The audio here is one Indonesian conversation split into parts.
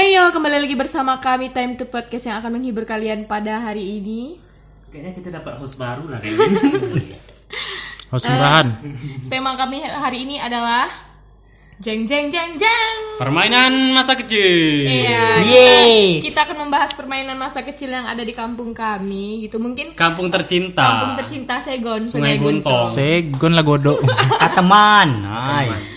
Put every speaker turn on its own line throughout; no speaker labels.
Ayo kembali lagi bersama kami Time to Podcast yang akan menghibur kalian pada hari ini.
Kayaknya kita dapat host baru lah kayaknya.
Harus murahan.
Eh. Tema kami hari ini adalah jeng jeng jeng jeng.
Permainan masa kecil.
Iya.
Yeay.
Kita, kita akan membahas permainan masa kecil yang ada di kampung kami gitu. Mungkin
Kampung tercinta.
Ah.
kampung tercinta Segon,
Sungai
Oh.
Guntong.
Segon lah godok.
Kateman.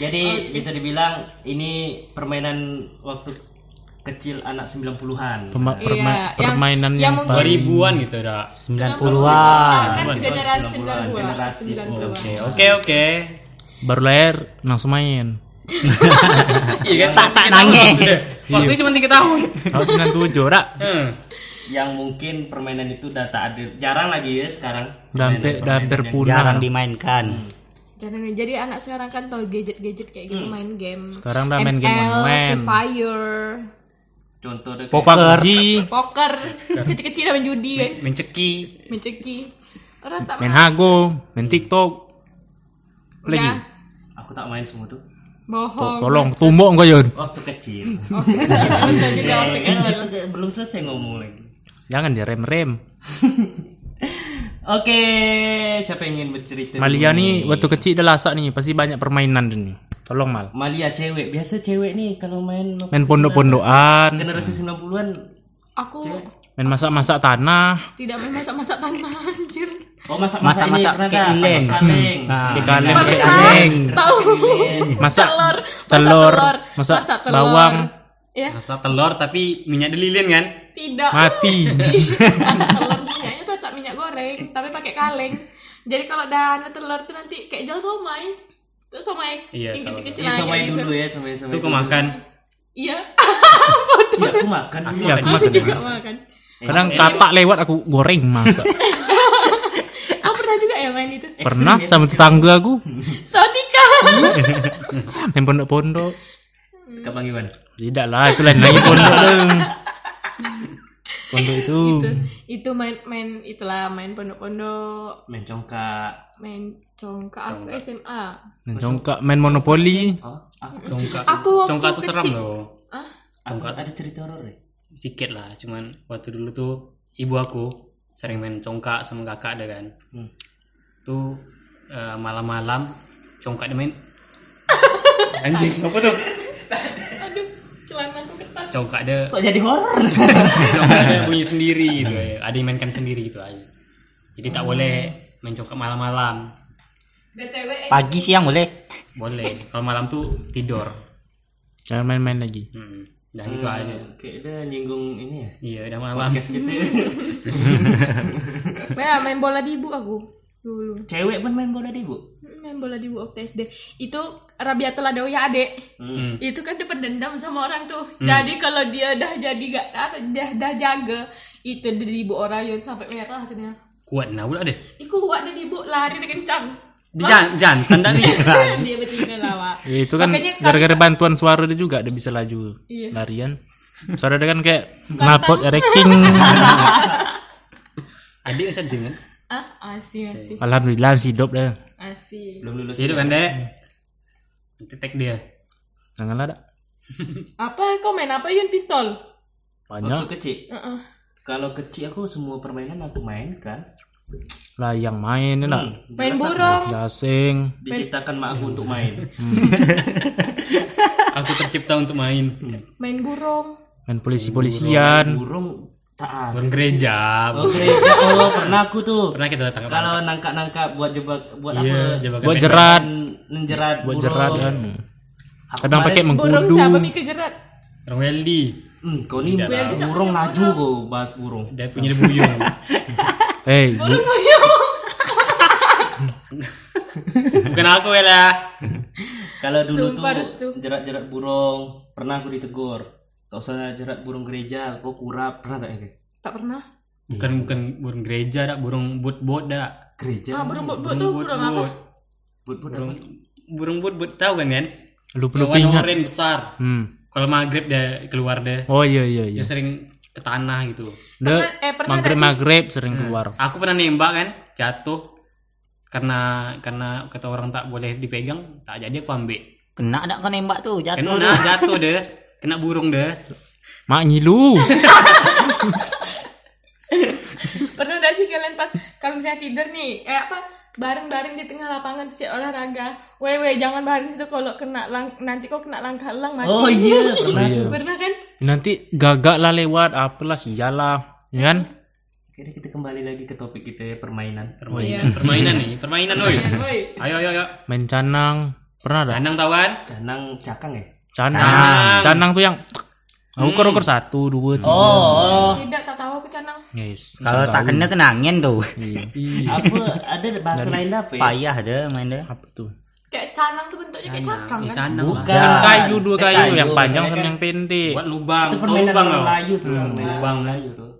Jadi bisa dibilang ini permainan waktu kecil anak 90-an.
Perma- perma-
Iya, yang-
permainan
yang
yang,
mungkin-
paling
Ribuan gitu dah.
90-an. Kan generasi
90-an,
90-an.
generasi
90-an.
Oke,
Oke oke.
baru lahir langsung
kan?
main.
Iya tak tak nangis. Waktu cuma tiga tahun.
Tahun 97 rak.
Hmm.
Yang mungkin permainan itu data ada jarang lagi ya sekarang.
Udah hampir udah hampir
Permainan-permainan
punah.
jarang dimainkan.
Jangan jadi anak sekarang kan tau gadget-gadget kayak gitu main game.
Hmm. Sekarang udah main game
ML,
online.
Free Fire,
yang- Contohnya kayak
Popa PUBG,
poker,
Nah.
kecil-kecil main judi kan.
Menceki.
menceki karena tak
main Hago, main TikTok. Apa Lagi.
Udah.
aku tak main semua tuh.
Nah, bohong
Tolong tumbok kau Yun.
Waktu kecil.
Oke, betul juga waktu
Eh,
kecil
waktu ke- belum selesai ngomong lagi.
Jangan direm-rem.
Oke, siapa yang ingin bercerita?
Malia
dulu
nih waktu kecil dah lasak nih, pasti banyak permainan dia nih. Tolong mal.
Malia cewek, biasa cewek nih kalau main waktu
Main
kecil,
pondok-pondokan,
generasi 90-an
aku
main masak-masak tanah,
tidak main masak-masak tanah anjir
Oh masak-masak ini
Masak-masak
pernah
kayak
dah,
ileng.
masak kaleng.
Nah,
Kayak kaleng,
Pernah,
kayak
tahu
masak
telur
telur,
masak
masak
telur.
bawang,
ya
Masa telur tapi minyak dililin kan?
tidak
mati.
masak telur minyaknya tuh tak minyak goreng tapi pakai kaleng jadi kalau dana telur tuh nanti kayak jual somai tuh somai
Iya,
yang
tahu.
kecil-kecil
Ya,
aja
somai
gitu.
dulu ya, somai somai.
Itu aku makan.
iya
Ya, aku makan dulu.
Iya, aku
aku
makan.
juga makan
Kadang katak lewat aku goreng masak.
aku pernah juga ya main itu
Pernah sama tetangga aku
Saudika
main pondok-pondok.
Ke Bang Iwan.
Tidak lah, itu lain lagi pondok tu. Pondok itu
itu Gitu. itu main main itulah main pondok-pondok
Main congkak.
main congkak aku SMA
main congkak, main monopoli.
Oh, aku
Congkak.
Aku waktu
Congkak tuh
kecil-
seram loh.
ah
aku ada cerita horor ya?
Sikit lah. Cuman waktu dulu tuh ibu aku sering main congkak sama kakak ada kan.
Hmm.
Tuh eh, malam-malam congkak dia main. Anjing apa tuh?
aduh celana aku ketat
Congkak dia
Kok jadi horor?
Congkak ada yang bunyi sendiri gitu ya. Ada yang mainkan sendiri gitu aja. Jadi tak boleh main congkak malam-malam.
btw eh,
Pagi siang boleh.
Boleh. Kalau malam tuh tidur.
Jangan main-main lagi.
Hmm. Dan itu aja.
Kayak dia nyinggung ini ya.
Iya, udah malam.
Podcast kita.
ya, main bola di ibu aku dulu
Cewek pun main bola di, Bu.
Hmm, main bola di ibu waktu SD itu Rabiatul Adawiyah ya adek itu kan dia pendendam sama orang tuh jadi kalau dia dah jadi gak dah, dah jaga itu dari ibu orang yang sampai merah hasilnya
Kuat nah pula deh.
Iku kuat dari ibu lari dia kencang
Di jan jantan tak nih.
dia bertindak lawa
Ya, itu kan
Makanya kami-
gara-gara bantuan suara dia juga dia bisa laju
Iya.
larian. Suara dia kan kayak ya, knalpot erecting.
Adik bisa di sini kan?
ah asih asih
Iya. Alhamdulillah masih hidup dah.
asih
Belum lulus.
Hidup kan, Dek? Nanti tag dia.
Janganlah dah.
Apa kau main apa Yun pistol?
Waktu
Banyak
kecil.
Heeh.
Kalau kecil aku semua permainan aku kan. mainkan.
lah yang main ni lah.
Main burung.
Gasing.
Diciptakan mak aku untuk main.
Aku tercipta untuk main.
Main burung.
main polisi-polisian.
Hmm. Burung tak ada.
Burung gereja.
Oke, ya Allah, pernah aku tuh.
Pernah kita tangkap.
Kalau nangkap-nangkap buat jebak buat
Iya,
apa? Kan
jebakan
Buat
pendek.
jerat,
Menjerat
buat
burung.
jerat kan.
Aku
Kadang
kemarin-
pakai
Burung
mengkudu.
siapa Mika jerat?
Orang Weldy.
Hmm, kau ni burung laju kau bahas burung.
Dia punya dia buyung.
Hei,
Burung puyuh.
Bukan aku ya lah.
Kalau dulu
Sumpah, Restu.
tuh jerat-jerat burung, pernah aku ditegur. Tak usah jerat burung gereja, kau kurap. Pernah tak ini?
Iya.
Tak pernah.
Bukan bukan burung gereja dak, burung bot-bot dak.
Gereja.
Ah, burung bot-bot tuh burung apa?
Buat buat
Burung burung bot-bot tahu kan kan?
lupa lupa
Warna
ingat.
oranye besar.
Hmm.
Kalau maghrib dia keluar deh.
Oh iya iya
Dia
iya.
sering ke tanah gitu.
Dia
Pernah- eh, pernah
maghrib
ada sih.
maghrib sering keluar.
Aku pernah nembak kan, jatuh karena karena kata orang tak boleh dipegang, tak jadi aku ambil.
Kena tak kau nembak tu jatuh.
Kena jatuh deh, kena burung deh.
Mak ngilu.
Pernah gak sih kalian pas kalau misalnya tidur nih, eh apa bareng-bareng di tengah lapangan si olahraga. Wewe jangan bareng situ kalau kena lang- nanti kok kena langkah elang mati.
Oh iya, pernah
Iya.
tuh.
Pernah kan?
Nanti gagak lah lewat, apalah sialah, ya kan?
Oke, deh, kita kembali lagi ke topik kita ya, permainan.
Permainan, permainan nih, permainan oi.
Kan, woi.
Ayo ayo kan? ayo.
Main canang. Pernah ada?
Canang tawan.
Canang cakang ya?
Canang.
Canang.
Canang, tuh yang ukur-ukur satu, dua, tiga.
Oh,
Tidak tak tahu aku canang.
Yes.
Kalau tak kena kena angin tuh.
Iya.
apa ada bahasa lain apa ya?
Payah dah main dah.
Apa tuh?
Kayak canang tuh bentuknya kayak cakang
Di
kan.
sana
Bukan.
Yang kayu dua
Eh,
kayu, yang
kayu,
panjang
maksudnya
sama
kan-
yang pendek.
buat lubang.
Itu
Oh,
permainan
lubang
orang
oh.
Melayu
Hmm.
tuh, orang Melayu.
Lubang Melayu tuh.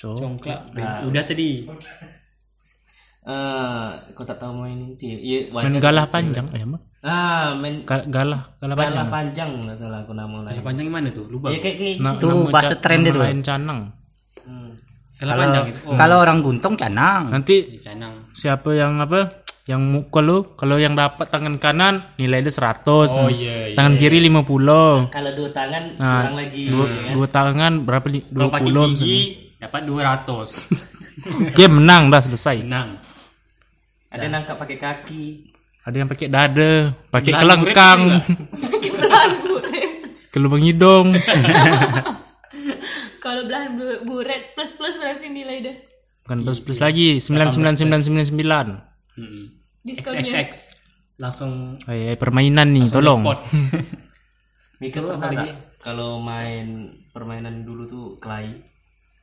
Cok.
Congklak.
Nah.
Udah tadi.
Eh, kau tak tahu main ini? Iya, wajar.
Main galah panjang ya, Mak?
Ah, main
Gal- Galah, galah
galah
panjang.
panjang nggak salah aku nama
Kalau
lain.
panjang gimana tuh? Lubang.
Ya kayak kayak
Nah,
Itu
nama
bahasa
ca-
tren
nama
dia tuh.
Lain canang.
Hmm.
Kalau panjang itu. Oh,
Kalau orang guntung canang.
Nanti
canang.
siapa yang apa? Yang mukul lu, kalau yang dapat tangan kanan nilai dia 100.
Oh iya. iya.
Tangan kiri 50.
Kalau dua tangan
Nah,
kurang lagi.
Dua,
ya kan?
dua tangan berapa? li-
Kalau pakai
20.
gigi dapat 200.
Game menang dah selesai.
Tenang.
Ada nangkap pakai kaki.
Ada yang pakai dada, pakai
Belang
kelengkang,
murid juga.
Belahan buret.
lah?
kelubang hidung.
Kalau belahan bu- buret plus plus berarti nilai deh.
Bukan plus plus lagi, 99999.
Mm-mm.
Diskonnya.
XXX. Langsung
Eh, permainan nih, tolong.
pot.
Mikir pernah tak? Kalau main permainan dulu tuh kelahi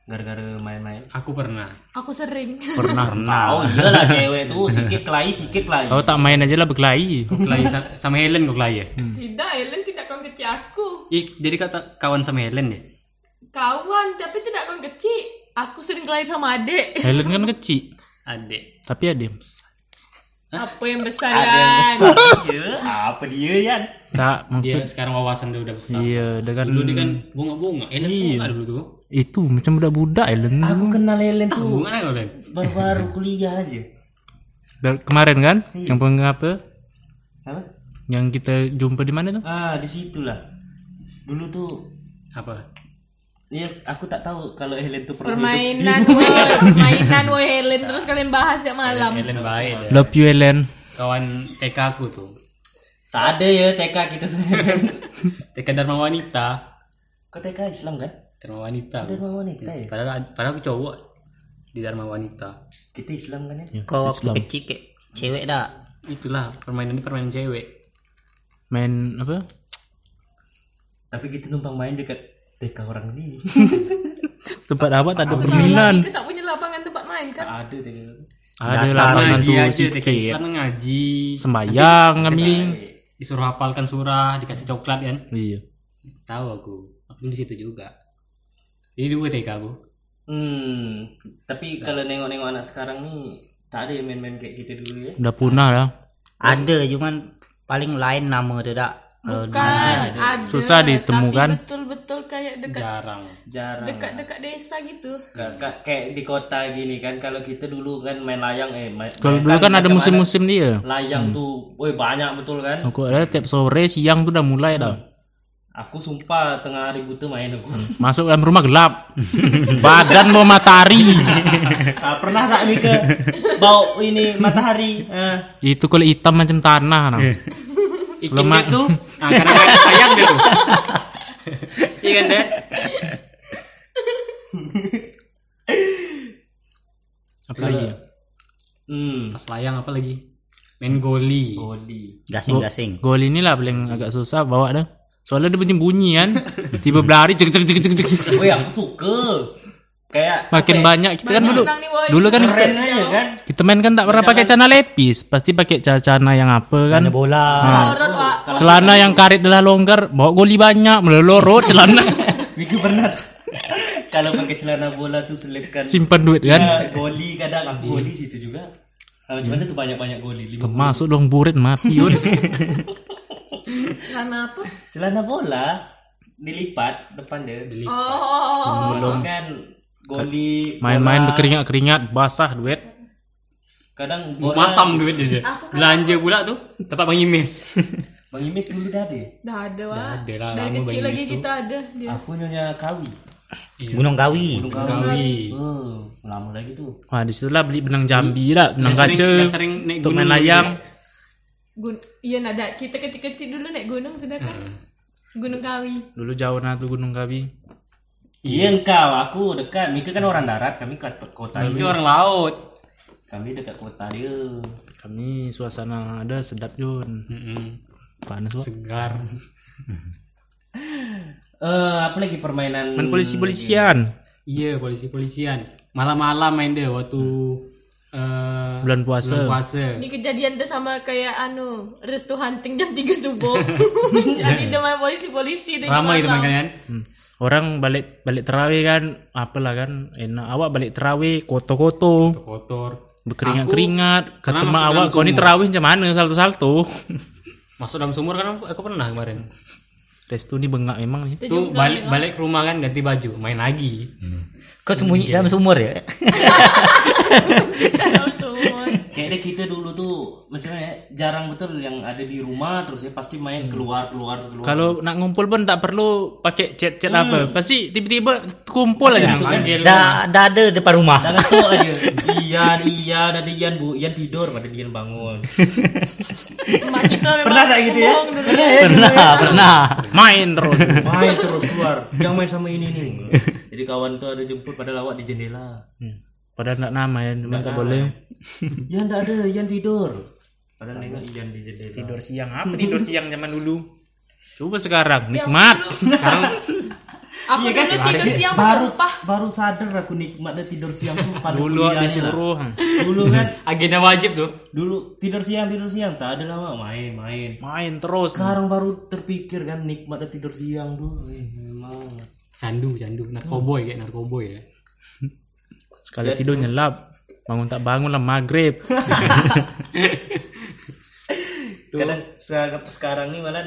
gara-gara main-main.
Aku pernah.
Aku sering.
Pernah.
Tahu iyalah cewek tuh sikit kelahi sikit kelahi.
Kau tak main aja lah berkelahi.
Kau kelahi sa- sama Helen kau kelahi ya?
Hmm.
tidak, Ellen tidak kawan kecil aku.
Ih, jadi kata kawan sama Helen ya?
Kawan, tapi tidak kawan kecil. Aku sering kelahi sama adek.
Helen kan kecil,
Adik.
tapi ada yang besar.
Apa yang besar ya?
Ada yang
Yan?
besar dia, apa dia Yan?
Tak
Dia
maksud
Iya, sekarang wawasan dia udah besar.
iya dengan
Dulu dia kan bunga-bunga. Helen bunga dulu tuh.
itu macam budak-budak Helen.
Aku kenal Helen tuh
Bunga kan Helen?
baru-baru kuliah aja.
Da- Kemarin kan
Hmm.
yang pengapa?
Apa?
Yang kita jumpa di mana tuh?
Ah, di situlah. Dulu tuh
Apa?
ya aku tak tahu kalau Helen tuh pernah
Permainan
Iya.
woi, permainan woi Helen terus kalian bahas tiap malam.
Helen baik dia.
Love you Helen.
Kawan TK aku tuh.
hidup. Tak ada ya TK kita sekarang.
TK Dharma Wanita.
Kau TK Islam kan?
Dharma Wanita.
Dharma wanita ya.
Padahal padahal aku cowok di Dharma Wanita.
Kita Islam kan ya?
Kau waktu kecil kek cewek dah.
Itulah permainan ini permainan cewek.
Main apa?
Tapi kita numpang main dekat TK orang ini.
Tempat apa tak ada
Malam
permainan.
itu tak punya lapangan tempat main kan?
tak ada TK.
Ada
Datar
lapangan
Ngaji
tuh
aja TK
sikit.
Islam ngaji.
Sembayang kami.
Disuruh hafalkan surah, dikasih coklat kan.
Iya.
Tahu aku. Aku di situ juga. Ini dua TK aku.
Hmm, tapi kalau nengok-nengok anak sekarang nih tak ada yang main-main kayak kita dulu ya.
Udah punah lah.
Ada cuman paling lain nama dia dah. Kalau
Bukan, ada.
Susah ditemukan.
Tapi betul-betul kayak dekat
Jarang.
Jarang.
dekat-dekat desa gitu.
Ka- ka- kayak di kota gini kan kalau kita dulu kan main layang eh main,
Kalau
main
dulu kan ada
macam
musim-musim Hmm. dia.
layang tuh, woi banyak betul kan?
Aku ada tiap sore siang tuh udah mulai dah.
Aku sumpah tengah hari buta main aku.
Masuk dalam rumah gelap. Badan mau matahari.
tak pernah tak nih ke bau ini matahari. Eh,
Itu kalau hitam macam tanah. Nah.
Ikan
Lemak.
dia tuh. Nah, karena banyak sayang dia tuh. Iya kan Dad?
Apa lagi? ya?
hmm.
Pas layang apa lagi? Main goli.
Goli.
gasing-gasing.
Gol inilah paling agak susah bawa dah. Soalnya dia bunyi-bunyi kan. Tiba berlari cek cek cek cek cek.
Woi aku suka. Kayak
Makin banyak kita kan
Banyak
dulu.
orang nih, woi.
Dulu kan kita,
keren aja kan?
kita main kan tak pernah pakai cana lepis, pasti pakai ca- cana yang apa kan?
Ada bola.
Horor, Wak.
Celana yang karet adalah longgar, bawa goli banyak, meleloro celana.
Mika pernah tak? kalau pakai celana bola tuh selipkan
Simpan duit kan.
Ya, goli kadang aku goli situ juga. Kalau cuman tuh banyak-banyak goli.
Iya.
Lima.
Masuk dong burit mati yun.
Celana apa?
Celana bola dilipat depan dia. Dilipat.
Oh, oh, oh, oh.
kan goli
Main-main
bola.
berkeringat-keringat, basah duit.
Kadang bola
Masam duit dia. dia.
Aku kan-
Belanja pula tuh. Tempat Bang Imes.
Bang Imes dulu dah ada.
Dah ada wah.
Dah ada lah,
Dari
lama
kecil
bagi
lagi
miss tu.
kita ada dia.
Aku nyonya Kawi.
Gunung Kawi.
Gunung
Kawi.
Oh, lama lagi tuh.
Wah, di situlah beli benang jambi lah, benang
Dah Hmm. sering-
kaca.
dah sering naik
Untuk
gunung gitu ya.
main
dulu
layang.
Gun iya nada kita kecil-kecil dulu naik gunung sudah kan. Gunung Kawi.
Dulu jauh nah tuh Gunung Kawi.
Iya engkau, aku dekat. Mika kan orang darat, kami kat kota
Itu
dia.
orang laut.
Kami dekat kota dia.
Kami suasana ada sedap Jun.
Mm-mm.
Panas wah.
Segar.
Eh, apa lagi
Hmm.
permainan?
Main polisi-polisian
Iya, polisi-polisian. Malam-malam main deh waktu eh,
bulan puasa.
bulan puasa.
Ini kejadian dia sama kayak anu, restu hunting jam 3 subuh. Jadi dia main polisi-polisi dia
Ramai itu main
malam.
kan.
Hmm. Orang balik balik terawih kan, apalah kan enak awak balik terawih koto-koto,
Kotor.
berkeringat-keringat,
pernah
kata
masuk
mak
dalam
awak kau ni
sumur."
terawih macam mana salto-salto.
Masuk dalam sumur kan aku, aku pernah kemarin.
Restu ni bengak memang ni.
Dia
Tuh
juga
balik
ingat.
balik ke rumah kan ganti baju, main lagi.
Kau sembunyi dalam sumur ya?
Dalam sumur.
Kayaknya kita dulu tuh macam mana ya, jarang betul yang ada di rumah terus ya pasti main
Hmm.
keluar keluar keluar.
Kalau nak ngumpul pun tak perlu pakai chat-chat
Hmm.
apa. Pasti tiba-tiba kumpul aja.
Panggil
Dah dah ada depan rumah.
Jangan tuh aja. Ian, Ian, ada Ian bu, Ian tidur pada Ian bangun.
Mak kita memang
Pernah tak gitu ya?
bohong dulu ya?
Pernah, pernah.
Main terus.
Hmm.
main terus keluar. Jangan main sama ini nih. Jadi kawan tuh ada jemput padahal awak di jendela.
Hmm. Padahal nak nama ya, cuma
Nah.
tak boleh.
Ian tak ada, Ian tidur. Padahal nengok Ian di jendela.
Tidur siang apa tidur siang zaman dulu? Coba sekarang
Ya,
nikmat.
Aku dulu tidur siang
baru
baru upah.
baru sadar aku nikmat dia tidur siang tuh pada
Dulu awak
kuliahnya lah.
disuruh.
Ya,
ha.
Dulu kan,
agenda wajib tuh.
dulu tidur siang tidur siang tak ada lah Wak. main main.
Main terus.
Sekarang baru terpikir kan nikmat dia tidur siang dulu. Eh, memang.
Candu, candu, narkoboy kayak narkoboy ya.
Sekali tidur nyelap. Bangun tak bangun lah maghrib.
Kadang sekarang, sekarang nih malah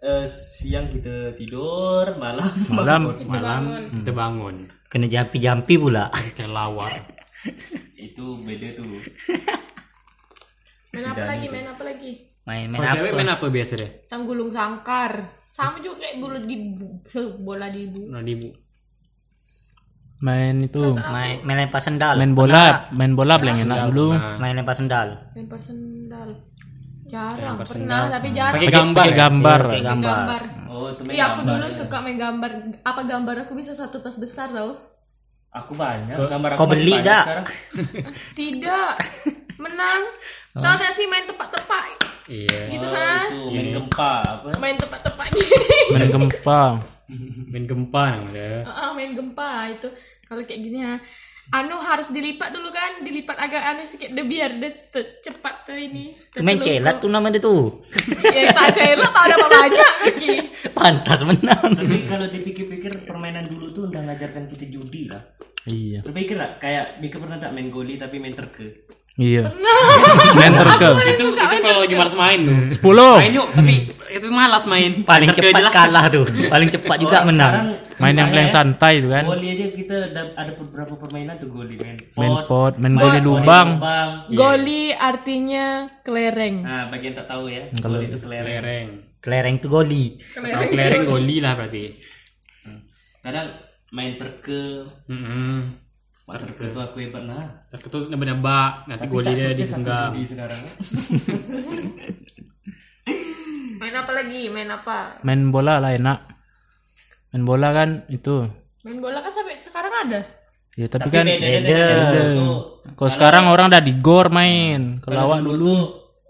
eh, siang kita tidur, malam
Malam
Malam kita bangun
Kena jampi-jampi pula.
kayak lawak.
itu beda tuh.
Main apa lagi? Main apa lagi?
Main-main
Kalau cewek
apa?
main apa biasa deh?
Sanggulung sangkar. Sama juga kayak bola di bola di bu.
Nah, di
main itu
Main, main lempar sendal.
main bola, main bola paling enak dulu.
Main lempar sendal.
Lempar sendal. Jarang pernah tapi jarang
pakai gambar.
Pakai
ya?
gambar.
Kayak gambar.
gambar.
Oh, itu main
Iya aku
gambar.
dulu suka main gambar. Apa gambar aku bisa satu tas besar tau?
Aku banyak gambar aku
Kau
masih
beli
banyak
dak?
sekarang.
Ah, Tidak. Menang. Tahu tak sih main tepak-tepak
Iya.
gitu ha?
Tuh, main gempa apa?
Main tepak-tepak gini.
Main gempa.
Main gempa namanya.
Ah, main gempa itu. Kalau kayak gini ha. Anu harus dilipat dulu kan, dilipat agak anu sikit dia biar dia te- cepat tuh ini.
Tu main celat tu nama dia tu.
Ya tak celat tak ada banyak lagi.
Pantas menang.
Tapi kalau dipikir-pikir permainan dulu tuh udah ngajarkan kita judi lah.
Iya.
Berpikir lah, kayak Mika pernah tak main goli tapi main terke.
Iya.
Nah,
Main terke.
Itu itu kalau lagi malas main tuh.
10.
Main yuk, tapi itu malas main.
Paling
Tetep
cepat
aja lah.
kalah tu. Paling cepat juga
Orang
menang.
sekarang
Main yang
gimana
paling
ya?
santai itu kan.
Goli aja kita ada, ada beberapa permainan tuh goli main pot,
Main pot, main
main
goli lubang.
lubang.
Goli artinya kelereng.
Nah, bagian tak tahu ya, goli itu kelereng.
Kelereng.
Kelereng tu goli.
Kalau kelereng goli lah berarti.
Kadang main terke,
Heeh.
Wah, terke tuh aku hebat nah.
Terketuk nebak-nebak, nanti goli
Tak
dia
sukses aku
gitu digenggam.
judi sekarang. ya.
Main apa lagi? Main apa?
Main bola lah enak. Main bola kan itu.
Main bola kan sampai sekarang ada.
Ya tapi, kan
beda, beda,
beda.
beda. Tuh,
kalau sekarang orang dah di gor main. Kalau
Kalau
awak
dulu tuh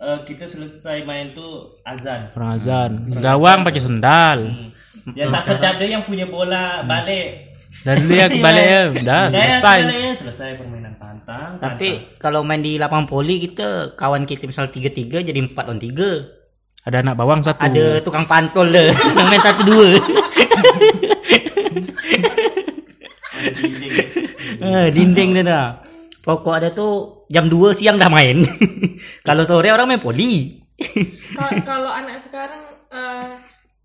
eh, kita selesai main tuh azan.
orang azan, gawang pakai sendal.
Hmm. Yang tak sedap dia yang punya bola balik.
Dan dia kebalik ya, dah
Saya
selesai.
kembali, selesai permainan pantang.
Tapi kalau main di lapang poli kita kawan kita misal 3-3 jadi 4 on 3.
Ada anak bawang satu.
Ada tukang pantol dia yang main 1
Ada dinding.
2. Eh, dinding dia dah. Pokok ada tu jam 2 siang dah main. kalau sore orang main poli.
Ka- Kalau anak sekarang eh,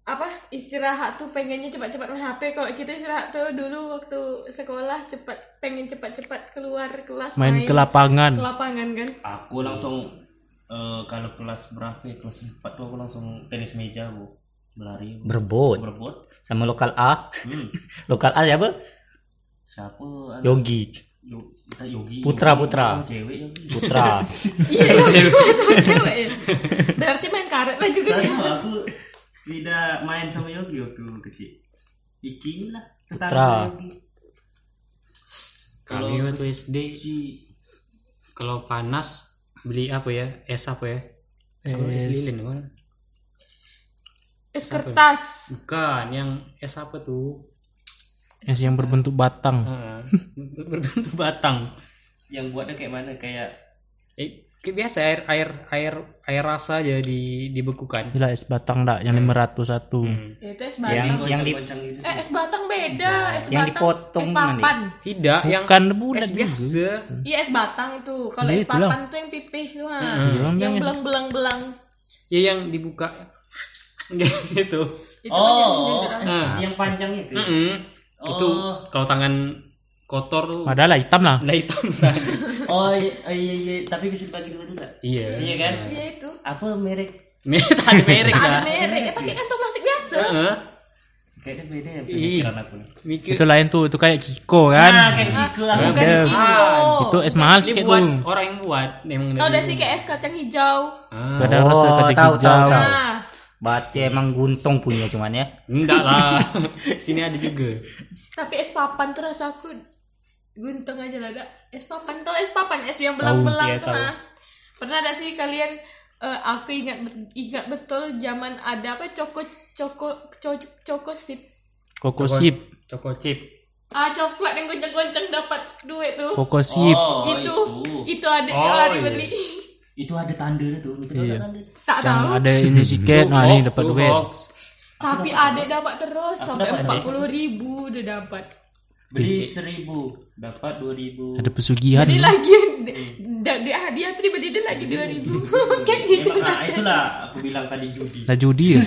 apa istirahat tuh pengennya cepat-cepat main HP. Kalau kita istirahat tuh dulu waktu sekolah cepat pengen cepat-cepat keluar kelas
main ke lapangan.
ke lapangan kan.
Aku langsung eh, kalau kelas berapa ya, kelas 4 tuh aku langsung tenis meja bu berlari bu.
berebut
berebut
sama lokal A
hmm.
lokal A siapa
siapa anu,
Yogi
Yo- kita Yogi
Putra,
Yogi.
Putra.
Sama cewek Yogi
Putra
Iya, iya, betul, cewek ya. Berarti main karet lah juga
Tapi
dia.
aku tidak main sama Yogi waktu kecil Iki lah tetangga
Putra.
Yogi
Kami
Kalau-
waktu SD kalau panas beli apa ya? Es apa ya? Es, apa? es lilin bukan?
Es kertas.
Bukan, yang es apa tuh?
Es yang berbentuk batang.
Ah, ber- berbentuk batang.
yang buatnya kayak mana kayak
Eh, kayak biasa air air air air rasa aja di dibekukan.
Gila es batang dak yang 501.
Hmm.
Ya, Itu es
Yang-
batang.
yang di-
goncang-goncang gitu
Eh, es batang beda. Es
Yang
batang.
dipotong
es
mana, Dik?
papan.
Tidak, yang
Bukan budak
es biasa.
Iya, es batang itu. Kalau
Iya,
es
itu lah.
papan tuh yang pipih tuh. ah.
Iya, orang
Yang
bilangnya.
beleng-beleng-beleng.
Ya yang dibuka gitu.
Itu kan yang
oh
nyender-nyender.
eh,
Ah.
yang panjang itu
Mm.
Mm-mm.
Oh.
Itu kalau tangan kotor tuh
Padahal lah hitam lah.
nah hitam nah.
oh iya, iya, iya. tapi bisa dibagi dua juga
Iya.
iya kan
Iya itu.
apa merek
tak ada merek
Tak ada
dah.
merek. Ya pakai kantong plastik biasa.
kan? Heeh.
kayaknya beda ya pemikiran aku nih
Mikir
Itu lain tuh, itu kayak Kiko kan.
ah kayak gitu lah
Bukan
Ada.
itu.
Ah, Itu es mahal
Ini
sikit
buat
tuh.
orang yang buat memang
Oh, udah sih kayak es kacang hijau.
Ah,
Itu ada rasa
Oh,
kacang
tahu, tahu,
hijau.
tahu.
Nah,
Berarti emang Guntong punya cuman ya.
Enggak lah. Sini ada juga.
tapi es papan tuh rasa aku guntung aja lah dak. Es papan tau es papan es yang belang-belang
Tahu, iya,
tuh
tahu.
nah. Pernah ada sih kalian eh, aku ingat bet- ingat betul zaman ada apa coko coko coko coko sip.
Koko sip,
Choco chip.
Ah, coklat yang goncang-goncang dapat duit tuh.
Koko sip.
oh
itu,
itu
itu ada yang
Oh,
lari
iya.
beli.
itu ada tandanya tuh mikir ada
Iya.
tanda
Tak
Yang
tahu.
ada ini sikit,
Itu
nah ini
hoax,
dapat
itu
duit.
hoax.
Tapi ada dapat terus sampai
dapat
empat puluh ribu udah dapat.
beli seribu dapat dua ribu
Iya. Ada pesugihan.
Ini lagi da- dia hadiah tuh dibeli dia lagi dua ribu. Kayak gitu.
Emang, ah, itulah aku bilang tadi judi
Dah judi ya.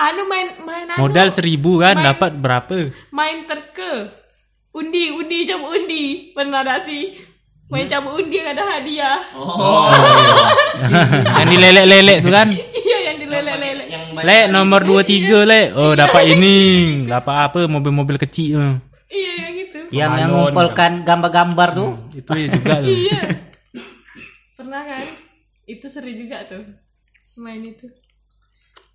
Anu main main anu.
Modal seribu kan
Main-
dapat berapa?
main terke undi undi cabut undi pernah tak sih main cabut undi yang ada hadiah
oh
Yang dilelek-lelek tuh kan.
iya yang dilelek-lelek
yang
Lek nomor 23 lek. Oh dapat ini. Dapat apa mobil-mobil kecil tu.
iya yang itu
Yang
Balon,
yang ngumpulkan gambar-gambar tuh.
Itu ya juga tu.
iya pernah kan itu seru juga tuh main itu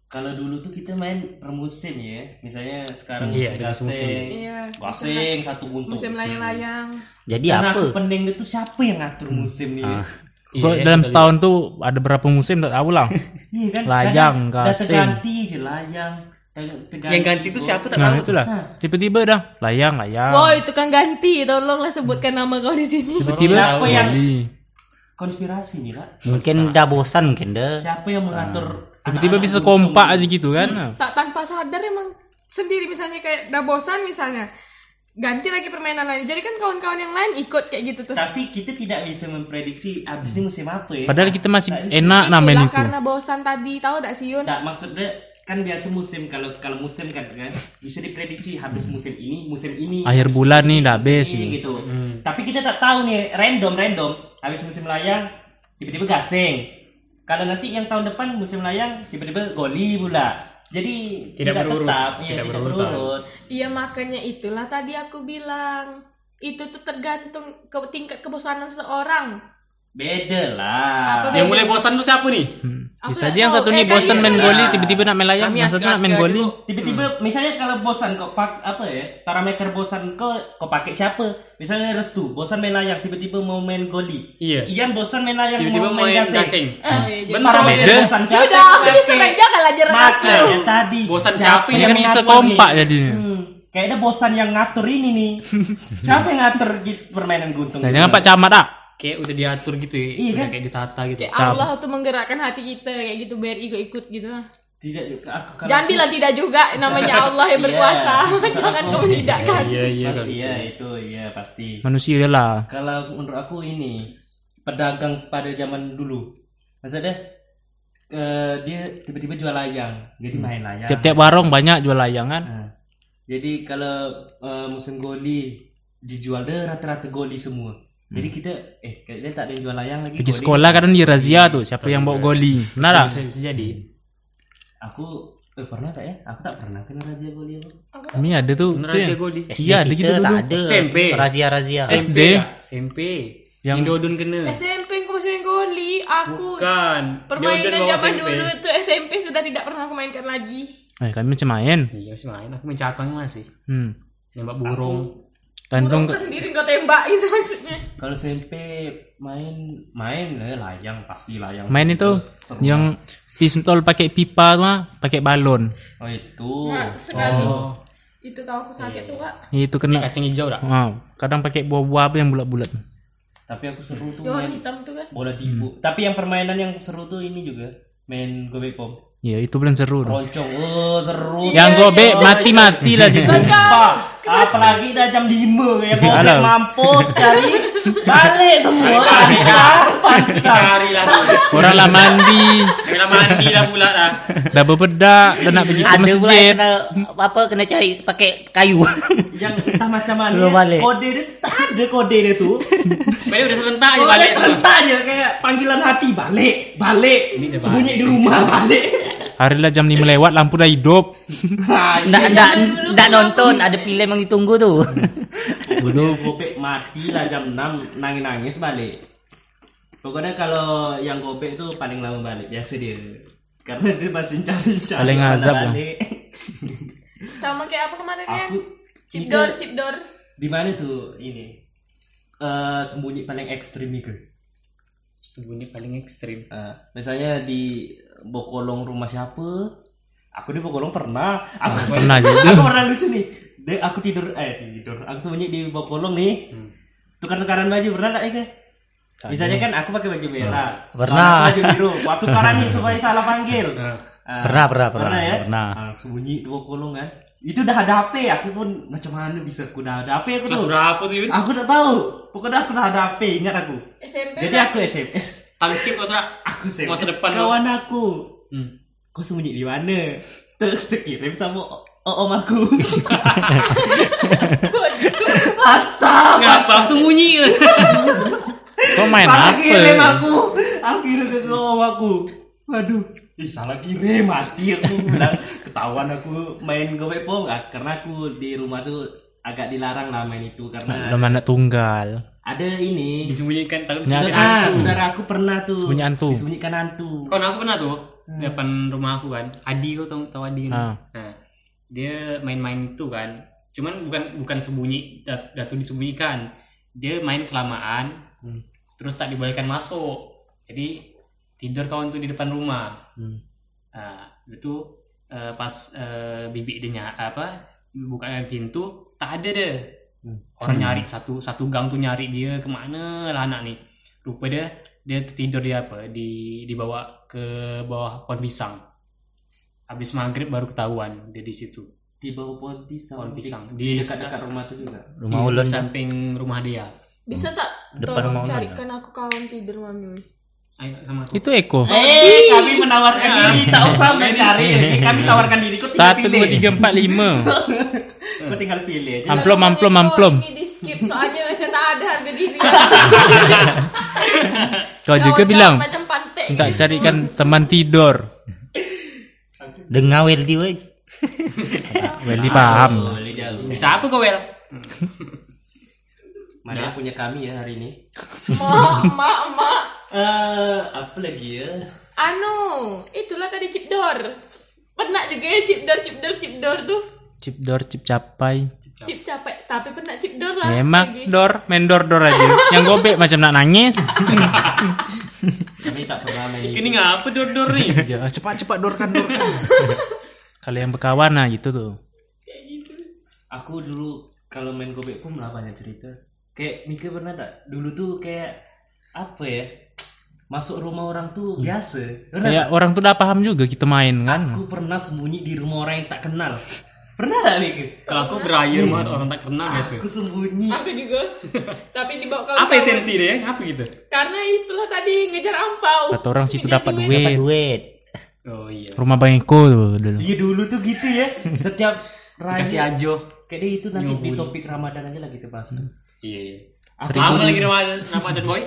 kalau dulu tuh kita main per musim ya misalnya sekarang
Iya,
musim
ada musim-musim.
gasing
Iya,
gasing satu buntung
musim layang-layang
Jadi
Iya,
karena
apa?
aku pending itu siapa yang ngatur
Hmm.
musim nih
Ah. Kok dalam setahun tuh ada berapa musim tak tahu lah.
iya kan
Layang,
kadang dah
gasing.
terganti aja layang ter- terganti
Yang ganti itu siapa tak
Nah
tahu.
itulah. Tiba-tiba dah layang
wow
layang.
itu kan ganti tolonglah sebutkan nama kau di sini
Tiba-tiba
Siapa
Oh,
yang-
Bali.
konspirasi nih lah
Mungkin udah bosan mungkin deh.
siapa yang mengatur
Ah. Tiba-tiba
anak-anak
bisa
buntung?
kompak aja gitu kan.
tak tanpa sadar emang sendiri misalnya kayak udah bosan misalnya ganti lagi permainan lain jadi kan kawan-kawan yang lain ikut kayak gitu tuh
tapi kita tidak bisa memprediksi abis
Hmm.
ini musim apa ya
Padahal kita masih
Tak bisa.
enak nah main
Itulah
itu.
karena bosan tadi tahu tak sih Yun
Nggak, Nah, maksudnya kan biasa musim kalau kalau musim kan kan bisa diprediksi habis
Hmm.
musim ini musim ini habis
Akhir bulan nih dah
musim
habis.
ini,
ni.
gitu
Hmm.
tapi kita tak tahu nih random random habis musim layang tiba-tiba gasing kalau nanti yang tahun depan musim layang tiba-tiba goli pula jadi
Tidak berurut.
tetap ya,
Tidak
tidak,
berurut.
berurut,
Iya makanya itulah tadi aku bilang itu tuh tergantung ke tingkat kebosanan seorang.
beda lah
Apa
Yang
Iya.
mulai bosan tuh siapa nih?
Aku
Bisa
tak
aja yang
tahu.
satu
Eh,
nih bosan
kalian
main
lah.
goli tiba-tiba nak main layang,
Kami
masa nak main
aska-aska
goli.
dulu.
tiba-tiba misalnya kalau bosan kok pak apa ya parameter bosan kok kok pakai siapa misalnya restu bosan main layang tiba-tiba mau main goli
Iya.
Ian bosan main layang
Tiba-tiba
mau main, gasing, Eh,
Oh, iya, jadi-
Bener
parameter
Beda.
bosan siapa
Yaudah, aku
yang pakai?
disengaja kalah jarak aku.
makanya tadi
Bosan siapa
yang bisa
ngatur
kompak
nih?
jadinya?
hmm, kayaknya bosan yang ngatur ini nih siapa yang ngatur gitu permainan guntung
Nah, jangan Pak Camat ah.
Kayak udah diatur gitu ya.
Iya,
udah
kan?
kayak ditata gitu.
Kayak Ya Allah tuh menggerakkan hati kita kayak gitu biar ikut-ikut gitu lah.
tidak aku kalau
Jangan bilang tidak juga namanya Allah yang
Iya.
berkuasa.
Maksud
Jangan
aku-
kau menidakkan.
Iya iya
iya,
kan.
itu iya pasti
Manusia dia lah.
kalau menurut aku ini pedagang pada zaman dulu maksudnya eh, dia tiba-tiba jual layang
Hmm.
jadi main layang
Tiap-tiap warung banyak jual layang kan.
Nah, jadi kalau eh, musim goli dijual deh rata-rata goli semua Jadi kita eh kayaknya tak ada yang jual layang lagi.
Hmm. Pergi
goli.
sekolah kadang dirazia tuh siapa yang bawa goli. Benar ah. tak?
Bisa, bisa jadi.
Aku eh pernah tak ya? Aku tak pernah kena razia goli apa.
Kami ada tuh.
Bener
tuh yang-
aja goli.
Iya, ada gitu
tak
dulu.
ada.
SMP.
Razia-razia.
SD.
ya? SMP. Yang Dodon kena.
SMP aku masih main goli aku
Bukan. Dodon
permainan
bawa
zaman
SMP.
dulu tuh SMP sudah tidak pernah aku mainkan lagi
Eh, kami macam main.
Iya masih main. Aku main cakang masih.
Hmm.
Nembak burung.
Gantung
Burung tuh sendiri kau tembak itu maksudnya
Kalau SMP main main eh, layang pasti layang.
main itu
Seru.
yang pistol pakai pipa mah pakai balon.
Oh itu.
Nah, sekali itu tahu aku sakit tuh kak
Itu kena.
Kacang hijau tak?
Wow. Kadang pakai buah-buah apa yang bulat-bulat.
Tapi aku seru tuh
Yo,
main
hitam tuh kan
bola
Hmm.
tibu. Tapi yang permainan yang seru tuh ini juga main gobek pom.
Ya itu belum seru. tuh.
Roncong, oh, seru.
Yang gobek mati-mati lah situ.
Pak, apalagi dah jam 5 ya gobek
Alah.
mampus cari balik semua pantang pantang.
Hari lah.
Orang lah mandi,
Kena mandi lah pula lah.
dah berbedak, dah nak pergi ke
Ada pula yang
masjid.
kena apa kena cari pakai kayu.
Yang entah macam
Suruh
mana
balik.
kode dia tak ada kode dia tu.
Sebenarnya udah sebentar aja
Balik
balik.
serentak je kayak panggilan hati balik, balik.
dia
Sembunyi di rumah balik.
Hari lah jam 5 lewat lampu dah hidup.
Ha,
Ndak ndak ndak nonton, ada film yang ditunggu tuh.
Bodoh gobek mati lah jam 6 nangis-nangis balik. Pokoknya kalau yang gobek itu paling lama balik biasa dia. Karena dia masih cari-cari
Paling
mana
azab, Bang.
balik.
sama kayak apa kemarin ya
Aku
chip
kita-
door chip door
Di mana tuh ini? Eh sembunyi paling ekstrim itu.
Sembunyi paling ekstrim.
Eh, misalnya di bokolong rumah siapa? Aku di bokolong pernah. Aku
Pernah juga.
aku pernah lucu nih. Dia- aku tidur eh tidur. Aku sembunyi di bokolong nih.
Hmm.
Tukar-tukaran baju pernah nggak Ega? Misalnya kan aku pakai baju merah.
Pernah.
Kawan aku Baju biru. Waktu tukaran nih supaya salah panggil. Ah,
Pernah, pernah, pernah,
ya?
pernah.
Ah, sembunyi di bokolong kan. Itu udah ada HP, aku pun macam mana bisa aku udah ada HP aku
Kelas
tuh.
berapa tuh Yun?
Aku tak tahu. Pokoknya aku dah ada HP, ingat aku.
SMP
Jadi aku SMS.
Paling skip kau tak?
Aku SMS
Masa depan lu.
kawan aku.
Hmm.
Kau sembunyi di mana? Terus dikirim sama o- om aku. Mantap.
Ngapa aku sembunyi? ke?
Kau main
Salah kirim
apa?
aku. Aku kirim ke om aku. Waduh. Ih, salah kirim mati aku bilang ketahuan aku main gobek pom Ah, karena aku di rumah tuh agak dilarang lah main itu karena
Belum anak tunggal.
ada ini
Disembunyikan takut
Nyata.
disembunyikan.
saudara, ah, saudara aku pernah tuh
Sembunyi hantu.
disembunyikan
Hmm.
hantu
Kawan aku pernah tuh di depan rumah aku kan. Adi kau tahu tahu Adi kan?
Ah.
Nah, dia main-main tuh kan. Cuman bukan bukan sembunyi dat- datu disembunyikan. Dia main kelamaan.
Hmm.
Terus tak dibolehkan masuk. Jadi tidur kawan tuh di depan rumah.
Hmm.
Nah, itu eh, pas eh, bibik dia nya- apa bukakan pintu tak ada deh.
Hmm.
Orang nyari satu satu gang tuh nyari dia kemana lah anak nih. Rupa dia dia tidur di apa di dibawa ke bawah pohon pisang habis maghrib baru ketahuan dia di situ
di bawah pohon pisang
Pohon pisang.
di
Di
dekat-dekat rumah tuh juga
Rumah
Di
ulun kan.
samping rumah dia
bisa tak
Depan
tolong
rumah Ulan,
carikan aku kawan tidur mami
ayo sama aku
Itu Eko.
Eh, kami menawarkan diri, tak usah mencari. Kami tawarkan diri, kau tinggal
Satu,
pilih.
dua, tiga, empat, lima.
Kau tinggal pilih aja.
Am- Amplom, amplom, amplom.
ini di skip soalnya macam tak ada harga diri
Kau juga
Kawan-kawan
bilang
macam pantai
minta kan. carikan teman tidur.
Dengar Weldy weh.
Welly paham.
Boleh jauh.
bisa apa kau wel
Mana punya kami ya hari ini.
mak mak mak
Eh, apa lagi ya?
anu itulah tadi chip door pernah juga ya chip door chip door chip door tuh
Cip dor, cip capai.
chip capek tapi pernah chip door lah
Emak
lagi.
dor, main dor dor aja. Yang gobek macam nak nangis.
Kami tak pernah main.
ini ngapa dor dor nih
Ya, cepat cepat dorkan dorkan. Kalau yang berkawan nah gitu tuh.
Aku dulu kalau main gobek pun lah banyak cerita. Kayak Mika pernah tak? Dulu tuh kayak apa ya? Masuk rumah orang tuh biasa. Pernah
Kayak orang tuh udah paham juga kita main kan.
Aku pernah sembunyi di rumah orang yang tak kenal. Pernah tak Mika?
kalau aku berayun banget orang tak kenal biasa
Aku sembunyi.
aku juga tapi dibawa kawan
apa esensi dia ngapa gitu
karena itulah tadi ngejar ampau
Kata orang situ dapat
Dapat
duit.
duit.
oh iya
Rumah Bang Eko tuh dulu.
Iya dulu tuh gitu ya. Setiap
kasih
raya
ajo Hmm.
kayaknya itu nanti di
Nyobuli.
topik Ramadan aja lah gitu bahas.
iya iya Lama lagi nama, nama dan boy.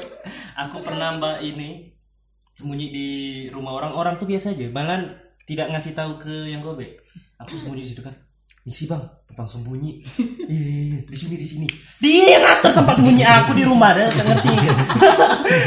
Aku pernah mbak ini sembunyi di rumah orang. Orang tuh biasa aja. Bahkan tidak ngasih tahu ke yang gobek. Aku sembunyi di situ kan. Misi bang, abang sembunyi. Eh, di sini di sini. Dia yang ngatur tempat sembunyi aku di rumah dah, nggak ngerti.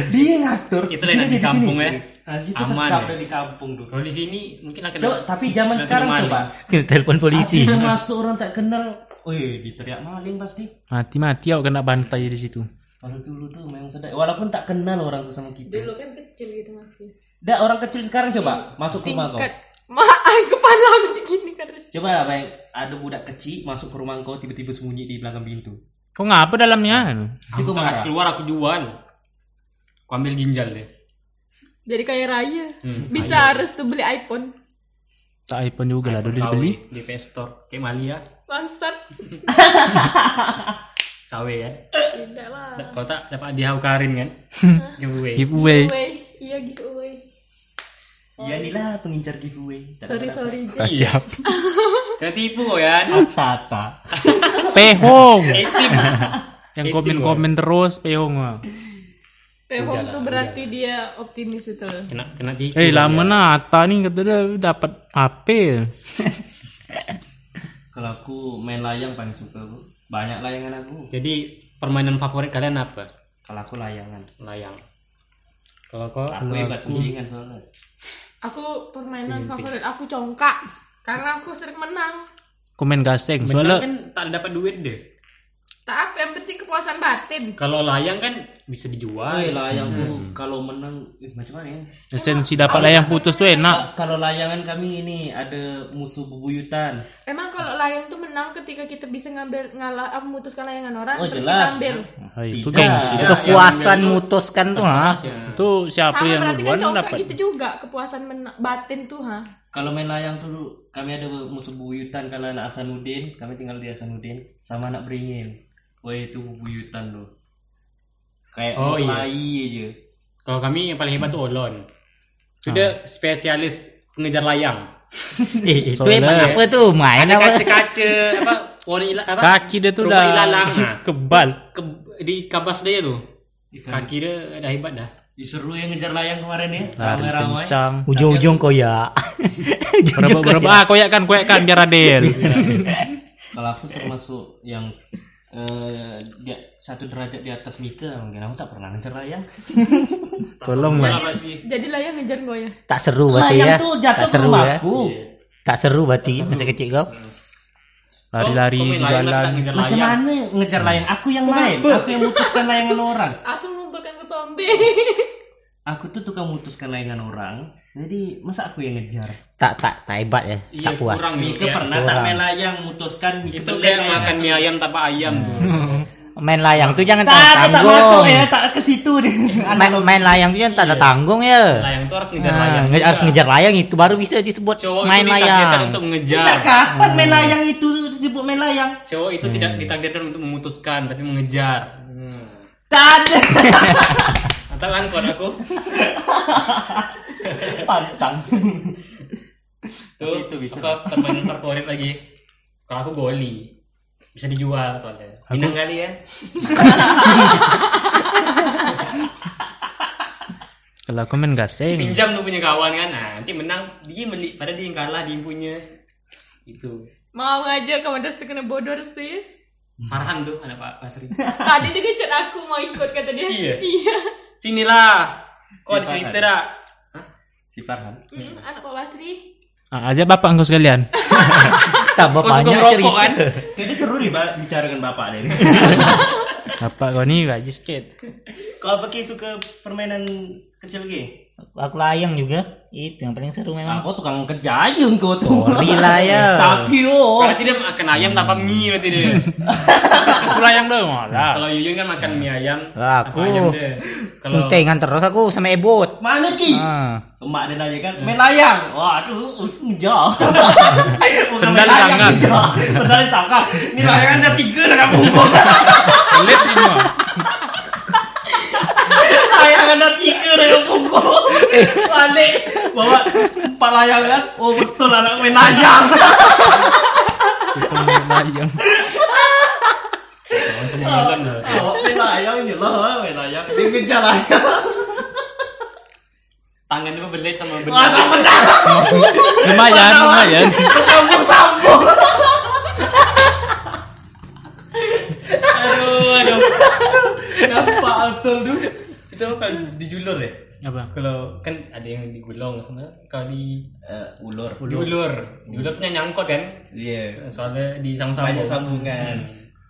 Dia yang ngatur.
Itu
Di
lain
sini,
di
di sini.
kampung ya.
Nah, di situ
Aman
sedap
ya.
dah di kampung tuh.
Kalau di sini mungkin akan
Coba, tapi zaman
Sudah
sekarang
maling.
coba.
Telepon polisi.
Ada masuk orang tak kenal. Wih, diteriak maling pasti.
Mati-mati awak kena bantai di situ.
Kalau dulu tuh memang sedap. Walaupun tak kenal orang tuh sama kita.
Dulu kan kecil gitu masih.
Dah orang kecil sekarang coba masuk ke rumah kau.
Tingkat. Mak, ay, kepala aku begini kan terus.
Coba lah Bang. ada budak kecil masuk ke rumah kau tiba-tiba sembunyi di belakang pintu.
Kau ngapa dalamnya?
Pasti kau
Tak kasih
marah.
keluar aku jual. Aku ambil ginjal deh.
Jadi kayak raya.
Hmm.
Bisa harus tuh beli iPhone.
Tak iPhone juga lah, dulu
Kau
dibeli.
di Pestor kayak Malia,
Bangsat.
KW ya.
Tidak lah.
Kau tak dapat dia karin kan? Giveaway.
Giveaway.
Giveaway. Iya giveaway.
Iya inilah pengincar giveaway. Tak
Sorry sorry.
Tak siap.
Kena tipu kau kan?
Tata.
Pehong.
Etim.
Yang
Hating,
komen-komen terus Pehong. ah.
Pehong tuh berarti dia optimis itu.
Kena kena tipu.
Eh lama nah Atta ni kata dia dapat HP.
Kalau aku main layang paling suka aku. Banyak layangan aku.
Jadi permainan favorit kalian apa?
Kalau aku layangan.
Layang. Kalau kau
Aku hebat sembunyian soalnya.
Aku permainan favorit aku congkak. Karena aku sering menang.
Komen gaseng.
menang
Soalnya
kan tak dapat duit deh.
Tak apa yang penting kepuasan batin.
Kalau layang kan bisa dijual.
Woi layang tuh
hmm.
kalau menang eh, macam mana ya?
esensi dapat layang putus tu enak.
Kalau layangan kami ini ada musuh bebuyutan.
Emang kalau layang tuh menang ketika kita bisa ngambil ngalah apa, memutuskan layangan orang
Oh,
terus
jelas.
kita ambil.
Ha, itu
Tidak.
gengsi.
Ya,
Kepuasan
yang- yang-
mutuskan tuh ha.
ya. Iya.
Tu siapa
Sama
yang
berarti kan
duluan
congkak
dapat.
gitu juga kepuasan mena- batin tuh ha.
Kalau main layang dulu kami ada musuh bubuyutan kalau anak Hasanuddin, kami tinggal di Hasanuddin sama anak Beringin. Woi itu bubuyutan tuh. Kayak oh,
Oh, iya.
aja.
Kalau kami yang paling hebat tuh Olon. Itu dia spesialis ngejar layang.
Eh, itu
Soalnya-
emang apa tuh? Main
Ada
apa?
kaca-kaca apa warna ila, apa?
Kaki dia tu
Rumah
dah
ilalang, ah.
kebal.
Ke, di kabas dia tuh. Kaki dia dah hebat dah.
Ih, seru yang ngejar layang kemarin ya,
Lari
ramai-ramai.
kencang.
Ujung-ujung koyak. Ujung-ujung
Berapa-berapa ah koyakkan koyakkan biar adil.
Kalau aku termasuk yang eh, dia satu derajat di atas Mika mungkin aku tak pernah ngejar layang.
Tolong lah.
Jadi, jadi layang ngejar gue ya.
Tak seru berarti
Layang
ya.
tuh
Tak
jatuh ke
seru ya.
rumahku.
Tak seru berarti masa kecil kau.
Lari-lari
Kau- kau
di
main layang lah,
jalan.
tak ngejar
Macam
layang.
mana ngejar layang? Aku yang main, aku yang mutuskan layangan orang.
Aku ngumpulkan ketombe.
Aku tuh tukang mutuskan layangan orang. Jadi masa aku yang ngejar?
Tak tak tak hebat ya.
Iya,
Tak puas.
kurang
Mika
gitu ya.
pernah tak main layang mutuskan gitu, Mika
Itu
beli
kayak
layangan.
makan mie ayam tanpa ayam tuh.
Main layang tuh jangan
Tak,
tak
aku tak masuk
tanggung.
ya, tak ke situ deh.
Main, main layang tuh jangan tak ada tanggung ya.
Layang tuh harus ngejar layang.
Ah, nge- harus ngejar layang itu baru bisa disebut
Cowok
main
itu ditakdirkan
layang.
untuk
Sejak
mengejar.
kapan main layang itu sibuk main layang?
Cowok itu tidak
Hmm.
ditakdirkan untuk memutuskan tapi mengejar. Hmm.
Tak ada.
Atau kan kawan aku
Pantang.
tuh
Tapi itu bisa.
apa permainan favorit lagi. Kalau aku goli bisa dijual soalnya. Minang kali ya.
Kalau kau main gaseng.
Pinjam lu punya kawan kan. Nah, nanti menang dia beli padahal dia yang kalah dia yang punya. Gitu. Itu.
Mau aja kamu terus kena bodor sih.
Hmm.
Farhan tuh anak Pak Pasri.
Tadi juga chat aku mau ikut kata dia.
Iya.
Iya.
Sinilah. Kok ada
Si
cerita
Farhan.
dak?
Si Farhan.
Hmm, anak Pak Basri.
Ah, ajak bapak kau sekalian.
Tambah
Kau suka
banyak
merokok
cerita.
kan?
Jadi seru nih ba- bicara dengan bapak deh.
Bapak kau ni gaji sikit.
Kalau pakai suka permainan kecil lagi.
Aku layang juga. Itu yang paling seru memang.
Aku tukang kerja aja engkau tuh.
Sorry lah ya.
Tapi oh.
Berarti dia makan ayam tanpa mie berarti dia.
Aku layang dong. Alah.
Kalau Yuyun kan makan mie ayam.
Lah,
tanpa
Ah, aku
ayam dia. Kalau
Suntingan terus aku sama ebot.
Mana ki?
Ah.
Emak dia nanya kan, main layang. Wah, itu ngejar. Bukan main
Sendal
layang,
tangan.
ngejar. Sendal tangan. Ini layangan ada tiga dah kamu.
Pelit semua.
layangan ada tiga dah kamu. Panik. Bawa empat layangan. Oh betul anak main layang.
Kita main layang.
Jangan lah.
Awak main layang je lah, main layang. Dia ngejar layang.
Tangan dia belit sama
Wah,
benda.
sama sama.
Lumayan, lumayan.
Sambung sambung.
Aduh, aduh.
Nampak betul tu. Itu kan dijulur ya?
Apa?
Kalau kan ada yang digulung sebenarnya. Kalau di
Uh, ulur.
diulur, diulur tu yang nyangkut kan.
Iya.
Soalnya di
Banyak
sambung-sambung.
sambungan.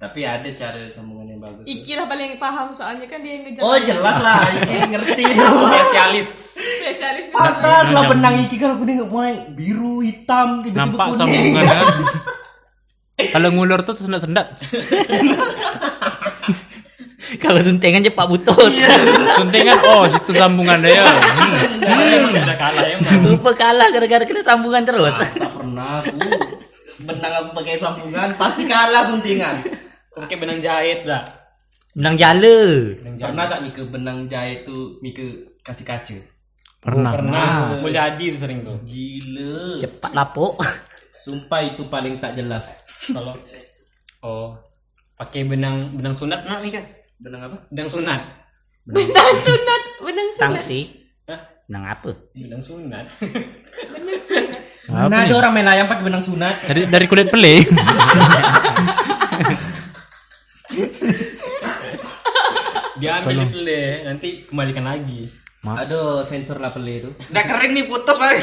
Tapi ada cara sambungan yang bagus.
Iki lah paling paham soalnya kan dia yang ngejar
Oh jelas lah, Iki ngerti tu.
Spesialis.
spesialis.
Pantas lah benang Iki kalau aku nengok mulai biru, hitam, tiba-tiba
Nampak
kuning.
sambungan kan. Kalau ngulur tuh tersendat-sendat.
Kalau suntingan cepat butut.
Suntingan, oh situ sambungan dia.
Emang udah kalah ya, emang.
Lupa kalah gara-gara kena sambungan terus.
Ah.
Tak pernah aku. Benang aku pakai sambungan, pasti kalah suntingan.
Oke benang jahit dah.
Menang jala.
Pernah tak Mika benang jahit tu Mika kasih kaca?
Pernah.
Pernah. Mulia Adi tu sering tuh.
Gila.
Cepat lapuk.
Sumpah itu paling tak jelas.
Kalau oh pakai benang benang sunat nak nih kan?
Benang apa?
Benang sunat.
Benang sunat, benang sunat,
Tangsi.
Hah?
Menang apa?
Benang sunat.
benang sunat.
Mana ada orang main layang pakai benang sunat?
Dari dari kulit pele.
Dia ambil dulu nanti kembalikan lagi.
Aduh, sensor lah pele itu.
Udah kering nih putus balik.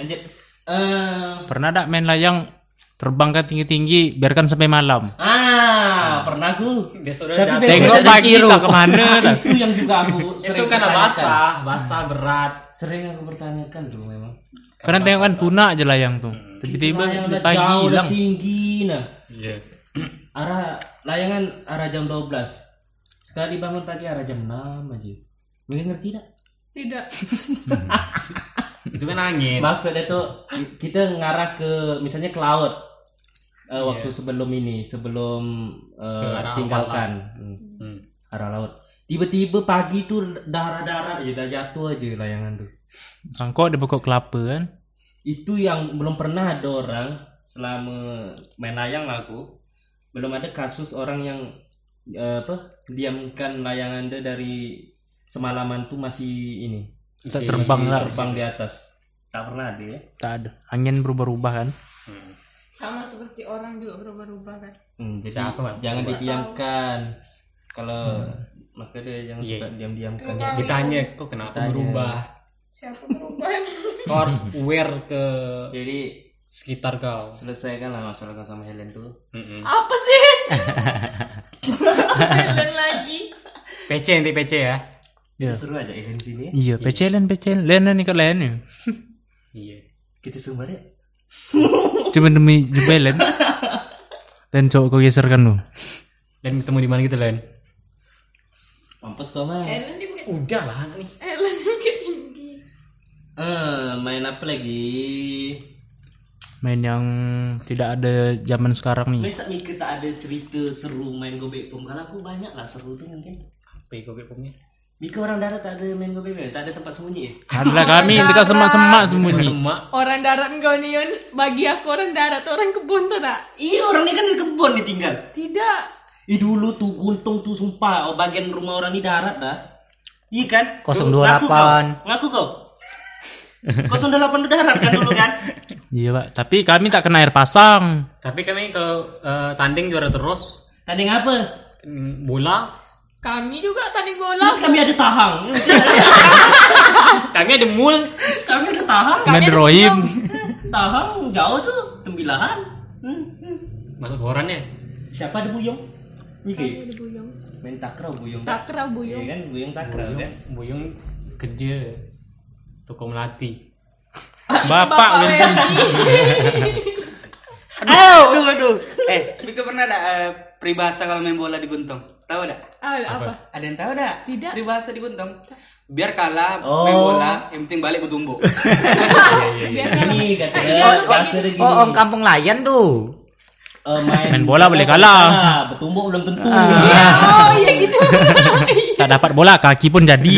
Lanjut. Eh,
Pernah tak main layang terbangkan tinggi-tinggi biarkan sampai malam.
ah, pernah aku.
Besok udah
Tapi
datang.
besok
Tengok
ada
pagi
Ciro.
tak kemana dah.
itu yang juga aku
Itu
sering
karena
pertanyakan.
basah, basah berat.
Sering aku pertanyakan tuh memang.
Kadang tengok kan punak aja layang tuh. Tiba-tiba
Layang udah
pagi
jauh, udah
hilang.
tinggi nah.
Iya.
Arah layangan arah jam 12. Sekali bangun pagi arah jam 6 aja. Mungkin ngerti tak?
Tidak.
Itu kan angin.
Maksudnya tuh kita ngarah ke misalnya ke laut. Eh, waktu sebelum ini, sebelum eh,
Iya. Ke arah
tinggalkan Hmm,
Hmm.
arah laut. Tiba-tiba pagi tuh darah-darah aja udah jatuh aja layangan tuh.
Angkot di pokok kelapa kan.
Itu yang belum pernah ada orang selama main layang lah aku. Belum ada kasus orang yang eh, apa? diamkan layangan dia dari semalaman tuh masih ini.
Tak
Masih-
terbang
masih
lah.
Terbang di atas. Tak pernah ada ya.
Tak ada. Angin berubah-ubah kan.
Sama seperti orang juga berubah-ubah kan.
Hmm, jadi
Siapa, Bang?
jangan
Coba.
didiamkan. Kalau makanya dia jangan
Iya.
suka diam-diamkan.
Coba.
Ditanya kok kenapa
Tanya.
berubah?
Siapa berubah?
Kau harus aware ke
Jadi
sekitar kau.
selesaikanlah masalah kau sama Helen dulu.
Mm-mm.
Apa sih? Jalan lagi.
PC nanti PC ya.
Ya.
Seru aja Helen sini. ya.
Iya, pecelen pecelen. Lain ni kat lain ni.
Iya.
Kita sumber ya.
Cuma demi jebelen. Dan cowok kau geserkan lu.
Dan ketemu di mana gitu Len?
Mampus kau main.
Ellen di Bukit.
Udah lah anak nih.
Ellen di Bukit Tinggi.
Eh, main apa lagi?
Main yang tidak ada zaman sekarang nih.
Masa Mika tak ada cerita seru main gobek pom? Kalau aku banyak lah seru tuh mungkin.
Apa yang kau buat punya?
Mika orang darat tak ada main gobek pom? Tak ada tempat sembunyi ya?
Adalah kami dekat semak-semak sembunyi.
Semak.
Orang darat kau ni Yon. Bagi aku orang darat orang kebun tu tak?
Iya orang ini kan di kebun ditinggal.
Tidak.
Ih dulu tuh Guntung tuh sumpah oh, bagian rumah orang ini darat dah. Iya kan?
028.
Ngaku kau. Ngaku kau. 028 itu darat kan dulu kan?
Iya pak. Tapi kami tak kena air pasang.
Tapi kami kalau eh, tanding juara terus
Tanding apa?
mm, bola
Kami juga tanding bola.
Terus kami ada tahang. Ya,
kami ada mul
kami ada tahang.
Kami ada rohim.
Tahang jauh tuh tembilahan. Hmm, hmm.
masuk ya? korannya
Siapa ada buyung? Iya.
Ada buyung.
Main takraw buyung.
Takraw
Iya
buyung.
kan buyung takraw kan.
Buyung kerja toko melati
Bapak
Bapak Iya.
belum
Aduh, aduh. Eh, Mika pernah ada peribahasa kalau main bola di Guntung? Tahu enggak?
Ah, apa?
Ada yang tahu enggak?
Tidak.
Peribahasa di Guntung. Biar kalah main bola, yang penting balik bertumbuk.
Biar
Ini kata
Ah, iya,
dia,
kok
bahasa kan? dia gini.
Oh, orang kampung layan tuh.
Eh, main,
Main bola boleh kalah. Ah.
Ah, Bertumbuk belum tentu. kan.
Oh, ya gitu.
tak dapat bola kaki pun jadi.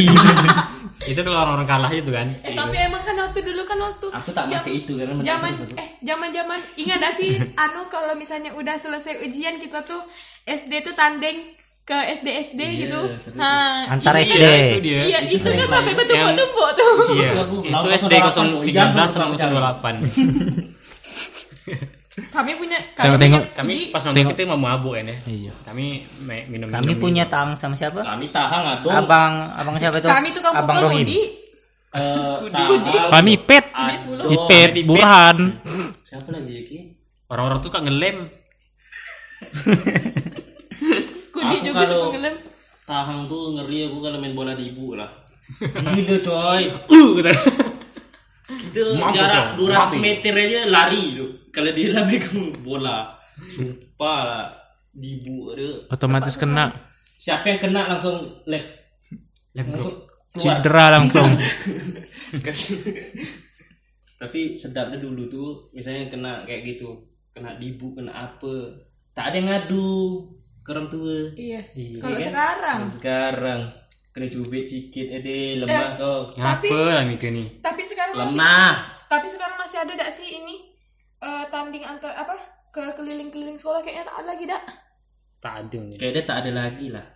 itu kalau orang-orang kalah itu kan
eh, tapi emang kan aku waktu dulu kan waktu
Aku tak
jam-
pakai itu karena menurut
zaman
aku satu.
eh zaman zaman ingat gak sih anu kalau misalnya udah selesai ujian kita tuh SD tuh tanding ke SD SD gitu
Iya, seru
nah
Antara
iya,
SD.
Iya, itu dia.
iya
itu
itu, kan
sering
sampai
banget.
bertumpuk-tumpuk tuh
Iya.
aku
Itu
lawan
SD
08 loh.
013
Iya, aku
sama 08.
kami punya
Tengok-
kami
tengok.
punya-
Kami
di-
pas nonton kita mau mabuk kan ya.
Iya.
Kami me- minum
Kami punya tang sama siapa?
Kami tahang aduh.
Abang abang siapa tuh?
kami tuh kamu
abang
pukul
Rohim.
Budi
Eh,
Kudi.
tahang.
Kami pet.
Kami sepuluh.
Aduh.
Ipet, Burhan.
Siapa lagi ya, Ki?
Orang-orang tuh kan ngelem.
Kudi
Aku
juga
kalau-
cukup ngelem
Tahang tuh ngeri aku kalau main bola di ibu lah. Gila coy.
Uh gitu.
Kita
Mampus,
lah.
jarak
coy.
200
Mati.
meter aja lari tu. Kalau dia lah megang bola. Sumpah lah. Di ibu dia.
Otomatis kena
Siapa yang kena langsung left. Langsung keluar.
cedera langsung.
Tapi sedapnya dulu tuh misalnya kena kayak gitu, kena dibu, kena apa. Tak ada yang ngadu ke orang tua.
iya
Iya
kalau
kan?
sekarang
Kalau sekarang kena cubit sikit eh deh, lemah kau.
Tapi-
Apa lah mikir ni?
tapi sekarang masih
Lemah.
tapi sekarang masih ada gak sih ini eh, tanding antar apa ke keliling-keliling sekolah kayaknya tak ada lagi dak
Tak ada ni.
Kayak dia tak ada lagi lah.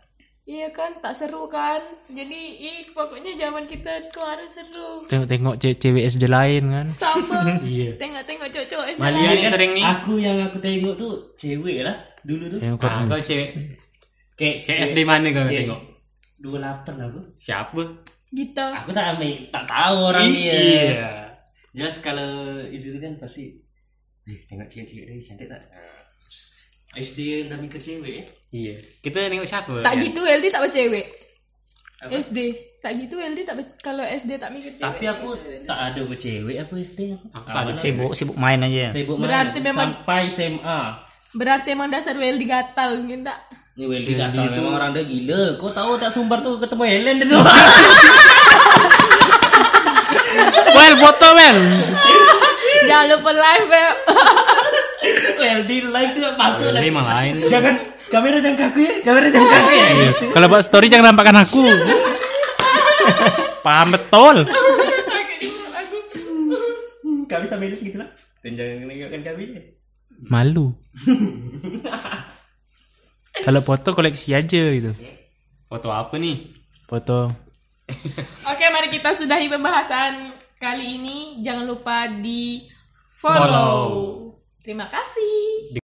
Iya kan, tak seru kan. Jadi, ih, pokoknya zaman kita kemarin seru.
Tengok-tengok ce- cewek SD lain kan.
Sama.
Iya.
Tengok-tengok cocok aja.
Malia ni sering ni.
kan Aku yang aku tengok tuh cewek lah dulu tuh.
Tengok
Ah, kau cek
Kayak
cek SD mana kau
cewek.
tengok?
28 aku.
Siapa?
Gitu.
Aku tak ambil, tak tahu orang dia.
Iya.
Jelas kalau itu kan pasti eh tengok cewek-cewek ni cantik tak? Ah. SD yang dah mikir cewek ya.
Iya. Kita tengok siapa?
Tak
kan?
gitu LD tak bercewek.
Apa?
SD. Tak gitu LD tak ber- kalau SD tak mikir cewek.
Tapi aku tak ada bercewek aku SD aku.
Aku tak ada
Kawan
Sibuk sibuk main aja.
Ah, Sibuk
Berarti
main.
memang-
sampai SMA.
Berarti emang dasar LD gatal mungkin tak?
Ni Weldy tak tahu memang orang dia gila. Kau tahu tak sumber tu ketemu Helen dia tu.
Well, foto well.
Jangan lupa live, Beb.
Weldy like tu masuk
Dia
lagi.
memang lain.
Jangan
Kan-
kamera jangan kaku ya, kamera jangan kaku ya.
Iya. Kalau buat story jangan nampakkan aku. Paham betul.
Kami sama Helen gitu lah. Dan jangan nengokkan kami.
Malu. Kalau foto koleksi aja gitu.
Foto apa ni?
Foto.
Oke, mari kita sudahi pembahasan kali ini. Jangan lupa di follow. Terima kasih.